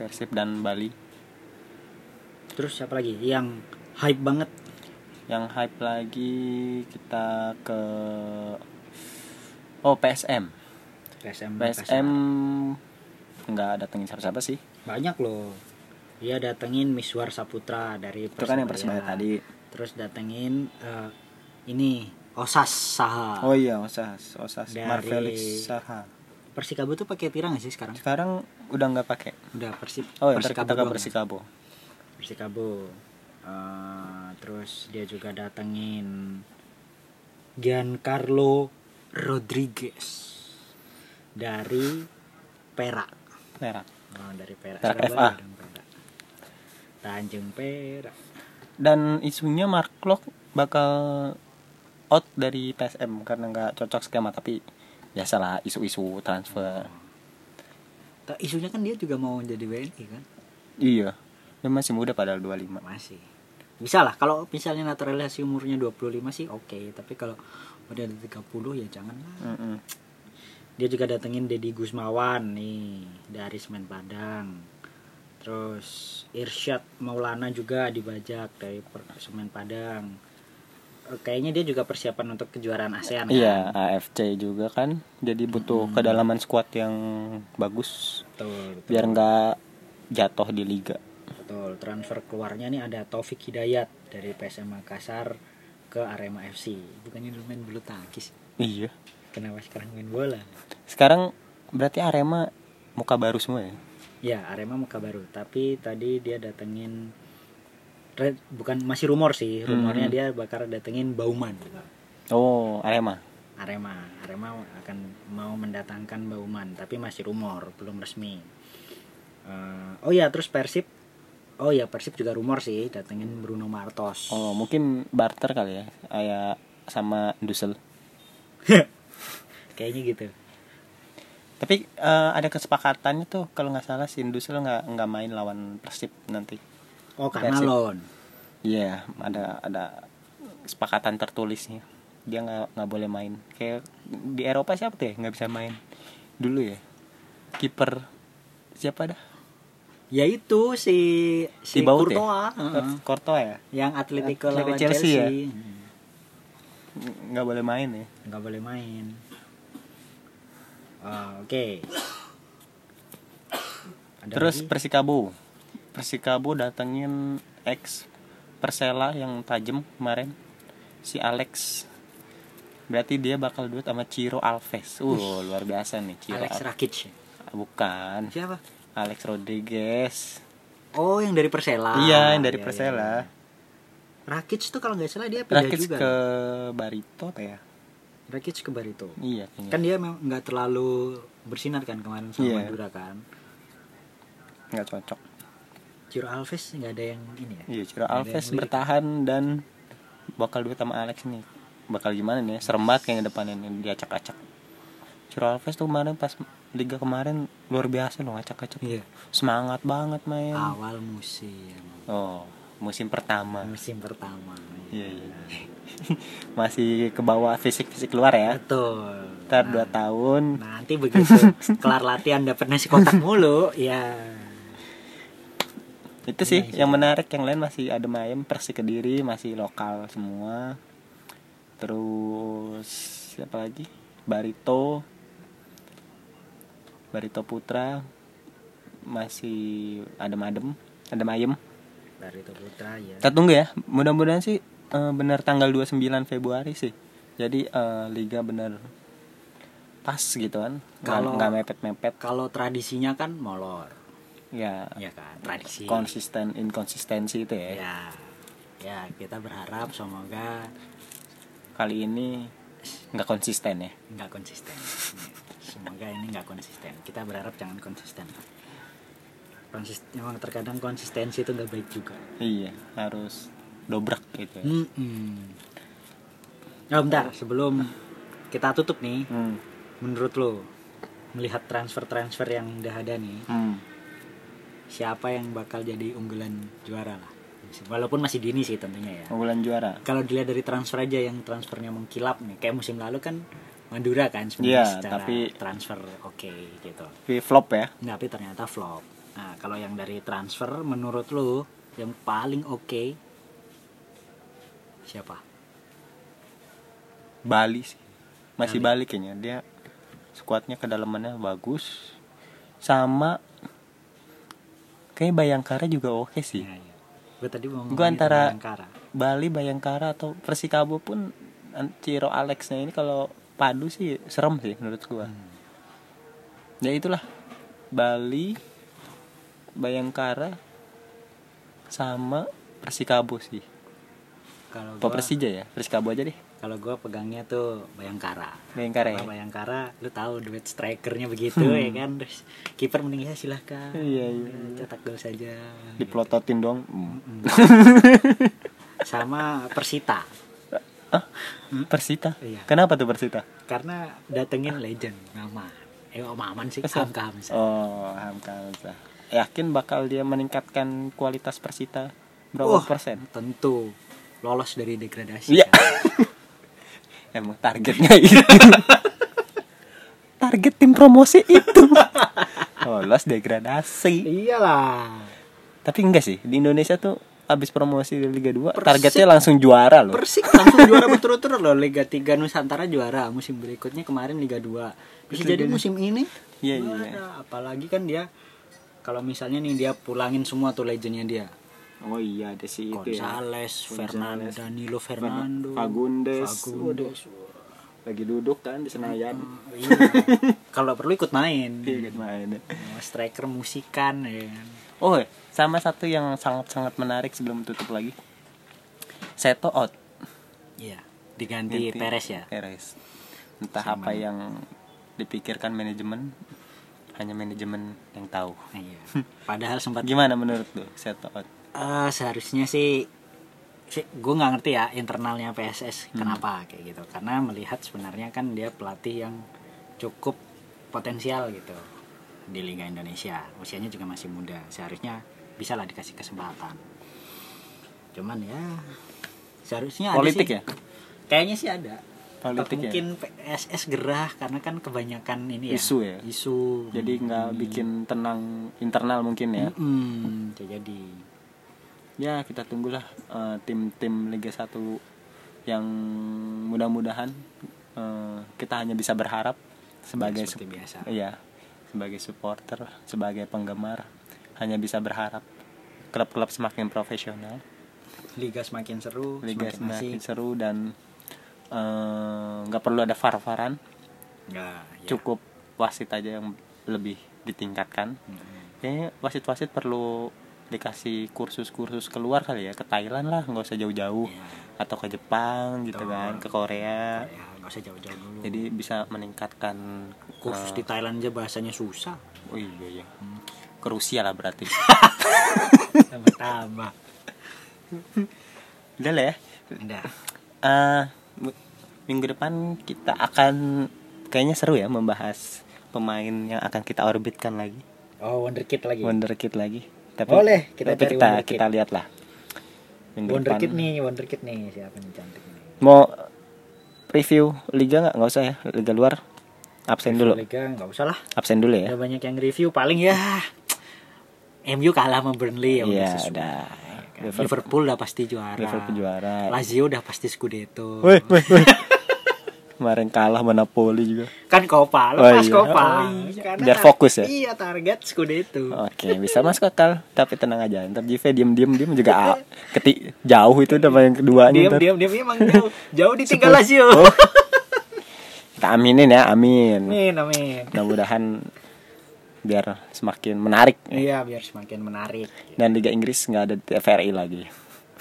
Speaker 1: Persib dan Bali
Speaker 2: Terus siapa lagi yang hype banget?
Speaker 1: yang hype lagi kita ke oh PSM Hmm,
Speaker 2: PSM.
Speaker 1: PSM nggak datengin siapa-siapa sih
Speaker 2: banyak loh. Dia datengin Miswar Saputra dari
Speaker 1: itu kan yang persebaya tadi
Speaker 2: Terus datengin eh, ini Osas Saha.
Speaker 1: oh iya Osas Osas
Speaker 2: Dari-
Speaker 1: Marvelix Sarha
Speaker 2: Persikabo tuh pakai pirang nggak sih sekarang?
Speaker 1: sekarang udah nggak pakai
Speaker 2: Udah Persib.
Speaker 1: oh ya ntar
Speaker 2: Persikabo.
Speaker 1: kita ke
Speaker 2: doang.
Speaker 1: Persikabo
Speaker 2: Persikabo. Eh, terus dia juga datengin Giancarlo Rodriguez dari Perak.
Speaker 1: Perak
Speaker 2: Oh, dari Perak.
Speaker 1: Perak
Speaker 2: Surabaya
Speaker 1: FA.
Speaker 2: dong, Perak. Tanjung Perak.
Speaker 1: dan isunya Mark Klok bakal out dari PSM karena nggak cocok skema tapi biasalah isu-isu transfer
Speaker 2: Ta- Isunya kan dia juga mau jadi WNI kan?
Speaker 1: iya dia masih muda padahal 25
Speaker 2: Masih. Bisa lah kalau misalnya naturalisasi umurnya 25 sih oke, tapi kalau udah ada 30 ya jangan lah.
Speaker 1: Mm-mm.
Speaker 2: Dia juga datengin Deddy Gusmawan nih dari Semen Padang. Terus Irsyad Maulana juga dibajak dari Per- Semen Padang. Eh, Kayaknya dia juga persiapan untuk kejuaraan ASEAN kan?
Speaker 1: Iya, AFC juga kan. Jadi butuh kedalaman skuad yang bagus
Speaker 2: Betul, betul.
Speaker 1: biar nggak jatuh di liga.
Speaker 2: Betul, transfer keluarnya nih ada Taufik Hidayat dari PSM Makassar ke Arema FC. Bukannya dulu main bulu tangkis,
Speaker 1: Iya.
Speaker 2: kenapa sekarang main bola?
Speaker 1: Sekarang berarti Arema muka baru semua ya?
Speaker 2: Ya, Arema muka baru, tapi tadi dia datengin re- bukan masih rumor sih,
Speaker 1: Hmm.
Speaker 2: rumornya dia bakal datengin Bauman.
Speaker 1: Oh, Arema.
Speaker 2: Arema, Arema akan mau mendatangkan Bauman, tapi masih rumor, belum resmi. Eh, oh ya, terus Persib Oh ya Persib juga rumor sih datengin Bruno Martos.
Speaker 1: Oh, mungkin barter kali ya. Kayak sama Dusel.
Speaker 2: Kayaknya gitu.
Speaker 1: Tapi eh, ada kesepakatannya tuh kalau nggak salah si Dusel nggak nggak main lawan Persib nanti.
Speaker 2: Oh karena
Speaker 1: Persib.
Speaker 2: loan.
Speaker 1: Iya, ada ada kesepakatan tertulisnya. Dia nggak nggak boleh main. Kayak di Eropa siapa tuh ya nggak bisa main dulu ya? Kiper siapa dah?
Speaker 2: yaitu Ya si
Speaker 1: Si
Speaker 2: si
Speaker 1: Baut ya?
Speaker 2: Courtois, heeh.
Speaker 1: Courtois ya?
Speaker 2: yang Atletico
Speaker 1: Atletico
Speaker 2: lawan
Speaker 1: Chelsea
Speaker 2: Chelsea, Hmm.
Speaker 1: ya? Nggak boleh main ya?
Speaker 2: nggak boleh main Ah, oke Ada
Speaker 1: Terus
Speaker 2: lagi?
Speaker 1: Persikabo. Persikabo datengin ex Persela yang tajem kemarin si Alex. Berarti dia bakal duet sama Ciro Alves. Uh, luar biasa nih Ciro.
Speaker 2: Alex
Speaker 1: Alves.
Speaker 2: Rakic
Speaker 1: Bukan.
Speaker 2: siapa
Speaker 1: Alex Rodriguez.
Speaker 2: Oh, yang dari Persela.
Speaker 1: iya yang dari
Speaker 2: Iya,
Speaker 1: Persela
Speaker 2: iya. Rakic tuh kalau nggak salah dia pindah
Speaker 1: Rakic
Speaker 2: juga.
Speaker 1: ke Barito apa ya
Speaker 2: Rakic ke Barito.
Speaker 1: iya kayaknya
Speaker 2: Kan dia memang nggak terlalu bersinar kan kemarin sama
Speaker 1: Iya.
Speaker 2: Madura kan.
Speaker 1: nggak cocok
Speaker 2: Ciro Alves nggak ada yang ini ya.
Speaker 1: iya Ciro
Speaker 2: Nggak ada
Speaker 1: Alves
Speaker 2: yang lirik.
Speaker 1: bertahan dan bakal duet sama Alex nih bakal gimana nih serem banget kayaknya depannya nih diacak-acak Ciro Alves tuh kemarin pas liga kemarin luar biasa loh ngacak-acak
Speaker 2: Iya.
Speaker 1: semangat banget main
Speaker 2: Awal musim.
Speaker 1: oh musim pertama
Speaker 2: Musim pertama.
Speaker 1: Iya, iya. Masih ke bawah fisik-fisik luar ya.
Speaker 2: Betul.
Speaker 1: Ntar 2 tahun
Speaker 2: Nanti begitu kelar latihan dapat nasi kotak mulu, ya.
Speaker 1: itu sih yang menarik yang lain masih ada ayam persik kediri masih lokal semua terus siapa lagi barito barito putra masih adem-adem adem ayam
Speaker 2: Barito Putra ya.
Speaker 1: kita tunggu ya mudah-mudahan sih eh, benar tanggal 29 Februari sih jadi eh, liga benar pas gitu kan Nggak-
Speaker 2: Kalau-
Speaker 1: nggak mepet-mepet
Speaker 2: Kalau tradisinya kan molor,
Speaker 1: ya
Speaker 2: ya kan tradisi.
Speaker 1: konsisten inkonsistensi itu ya
Speaker 2: ya. Ya, kita berharap semoga
Speaker 1: kali ini nggak konsisten ya
Speaker 2: nggak konsisten. Semoga ini nggak konsisten. Kita berharap jangan konsisten. Konsisten, memang terkadang konsistensi itu nggak baik juga.
Speaker 1: iya harus dobrak gitu ya.
Speaker 2: Mm-mm. Oh, bentar, sebelum kita tutup nih,
Speaker 1: Hmm.
Speaker 2: menurut lo melihat transfer-transfer yang udah ada nih,
Speaker 1: Hmm.
Speaker 2: siapa yang bakal jadi unggulan juara lah? Walaupun masih dini sih tentunya ya.
Speaker 1: unggulan juara
Speaker 2: Kalau dilihat dari transfer aja yang transfernya mengkilap nih, kayak musim lalu kan Madura kan
Speaker 1: Iya,
Speaker 2: sebenarnya secara
Speaker 1: tapi-
Speaker 2: transfer oke gitu.
Speaker 1: tapi flop ya
Speaker 2: Nah, tapi ternyata flop. Nah, kalau yang dari transfer menurut lo yang paling oke siapa?
Speaker 1: Bali sih masih Bali kayaknya dia skuadnya kedalamannya bagus sama kayak Bayangkara juga oke sih
Speaker 2: Ya, ya. Gue tadi mau
Speaker 1: Iya. Gua
Speaker 2: ngomongin
Speaker 1: antara-
Speaker 2: Bayangkara.
Speaker 1: Bali Bayangkara atau Persikabo pun an- Ciro Alexnya ini kalau padu sih serem sih menurut gua. Ya itulah Bali Bayangkara sama Persikabo sih.
Speaker 2: Kalau
Speaker 1: Apa
Speaker 2: gua
Speaker 1: Persija ya? Persikabo aja deh.
Speaker 2: kalau gua pegangnya tuh Bayangkara.
Speaker 1: Bayangkara ya.
Speaker 2: Kalau Bayangkara lu tahu duet strikernya begitu ya kan terus kiper mending ya silahkan
Speaker 1: Hmm. Iya, iya,
Speaker 2: Ya, cetak gol saja
Speaker 1: Dipelototin dong. Hmm.
Speaker 2: sama Persita
Speaker 1: Hah? Persita.
Speaker 2: Iya.
Speaker 1: Kenapa tuh Persita?
Speaker 2: karena datengin legend Maman eh kok Maman sih
Speaker 1: Kesel.
Speaker 2: Hamka Hamzah.
Speaker 1: Oh, Hamka Hamzah. Yakin bakal dia meningkatkan kualitas Persita berapa Oh,
Speaker 2: Wah,
Speaker 1: persen?
Speaker 2: tentu lolos dari degradasi
Speaker 1: Iya.
Speaker 2: kan.
Speaker 1: Emang targetnya itu. Target tim promosi itu. Lolos degradasi.
Speaker 2: iyalah
Speaker 1: Tapi enggak sih, di Indonesia tuh abis promosi di Liga 2,
Speaker 2: Persib.
Speaker 1: targetnya langsung juara loh.
Speaker 2: Persik langsung juara berturut-turut loh Liga 3 Nusantara juara musim berikutnya kemarin Liga 2 bisa jadi musim ini
Speaker 1: Iya,
Speaker 2: juara.
Speaker 1: iya.
Speaker 2: apalagi kan dia kalau misalnya nih dia pulangin semua tuh legendnya dia
Speaker 1: Oh iya, ada sih
Speaker 2: Gonzales, Fernando, Danilo Fernando,
Speaker 1: Fagundes.
Speaker 2: Fagundes.
Speaker 1: Lagi duduk kan di Senayan.
Speaker 2: Iya. Kalau perlu ikut main.
Speaker 1: Iya, gitu.
Speaker 2: Mau striker musikan ya kan.
Speaker 1: Oh, sama satu yang sangat-sangat menarik sebelum tutup lagi. Seto out.
Speaker 2: Iya, diganti
Speaker 1: Ganti Iya.
Speaker 2: Perez ya.
Speaker 1: Perez. Entah apa yang dipikirkan manajemen, hanya manajemen yang tahu.
Speaker 2: Iya. Padahal sempat
Speaker 1: Gimana menurut lu set out?
Speaker 2: Eh, seharusnya sih gue nggak ngerti ya internalnya PSS
Speaker 1: Hmm.
Speaker 2: kenapa kayak gitu karena melihat sebenarnya kan dia pelatih yang cukup potensial gitu di Liga Indonesia usianya juga masih muda seharusnya bisa lah dikasih kesempatan cuman ya seharusnya ada
Speaker 1: Politik
Speaker 2: sih.
Speaker 1: ya?
Speaker 2: kayaknya sih ada
Speaker 1: Politik ya?
Speaker 2: mungkin PSS gerah karena kan kebanyakan ini ya
Speaker 1: Isu ya?
Speaker 2: isu
Speaker 1: Jadi nggak bikin tenang internal mungkin ya.
Speaker 2: Hmm. Mm-mm, jadi
Speaker 1: Ya kita tunggulah eh, tim-tim Liga 1 yang mudah-mudahan eh, kita hanya bisa berharap sebagai
Speaker 2: Ya, seperti
Speaker 1: sup-
Speaker 2: biasa.
Speaker 1: Iya, sebagai supporter, sebagai penggemar hanya bisa berharap klub-klub semakin profesional.
Speaker 2: liga semakin seru,
Speaker 1: liga
Speaker 2: semakin
Speaker 1: semakin
Speaker 2: asik.
Speaker 1: seru dan eh, nggak perlu ada far-faran
Speaker 2: Nggak, ya.
Speaker 1: cukup wasit aja yang lebih ditingkatkan
Speaker 2: Mm-mm.
Speaker 1: kayaknya wasit-wasit perlu dikasih kursus-kursus keluar kali ya ke Thailand lah nggak usah jauh-jauh
Speaker 2: Iya.
Speaker 1: atau ke Jepang gitu
Speaker 2: Betul.
Speaker 1: kan ke Korea
Speaker 2: ya nggak usah jauh-jauh dulu
Speaker 1: jadi eh, bisa meningkatkan
Speaker 2: kursus di Thailand aja bahasanya susah
Speaker 1: oh iya iya ke Rusia lah berarti
Speaker 2: tambah-tambah
Speaker 1: udah lah ya
Speaker 2: Udah.
Speaker 1: Eh, mi- minggu depan kita akan kayaknya seru ya membahas pemain yang akan kita orbitkan lagi
Speaker 2: oh wonderkid lagi
Speaker 1: wonderkid lagi tapi
Speaker 2: Boleh, kita
Speaker 1: tapi
Speaker 2: cari
Speaker 1: kita,
Speaker 2: wonderkid.
Speaker 1: kita lihat lah minggu
Speaker 2: wonderkid
Speaker 1: depan.
Speaker 2: nih wonderkid nih siapa nih cantik nih
Speaker 1: mau review liga nggak nggak usah ya liga luar absen dulu
Speaker 2: Liga nggak usah lah
Speaker 1: absen dulu ya
Speaker 2: udah banyak yang review paling ya MU kalah sama Burnley ya
Speaker 1: iya
Speaker 2: sesuai.
Speaker 1: udah
Speaker 2: Kan,
Speaker 1: Liverpool
Speaker 2: Liverpool udah pasti juara
Speaker 1: Liverpool juara
Speaker 2: Lazio udah pasti Scudetto
Speaker 1: Woi, woi, woi. kemarin kalah sama Napoli juga
Speaker 2: kan Copa
Speaker 1: Oh
Speaker 2: lepas
Speaker 1: iya.
Speaker 2: Copa
Speaker 1: Oh iya.
Speaker 2: Karena
Speaker 1: Biar
Speaker 2: tar-
Speaker 1: fokus ya? Oh,
Speaker 2: iya target Scudetto
Speaker 1: Oke, bisa masuk akal. Tapi tenang aja, ntar JV diem-diem diem juga ah, keti jauh itu udah yang keduanya.
Speaker 2: diam
Speaker 1: ntar.
Speaker 2: diam diam emang jauh jauh ditinggal Lazio
Speaker 1: Oh. Kita aminin ya, amin.
Speaker 2: amin amin
Speaker 1: Mudah-mudahan biar semakin menarik
Speaker 2: iya biar semakin menarik
Speaker 1: dan Liga Inggris nggak ada TVRI lagi.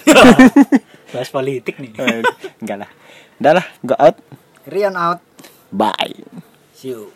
Speaker 2: bahas politik nih
Speaker 1: Eh, Enggak lah. Udah lah, go out.
Speaker 2: Rian out
Speaker 1: Bye.
Speaker 2: see you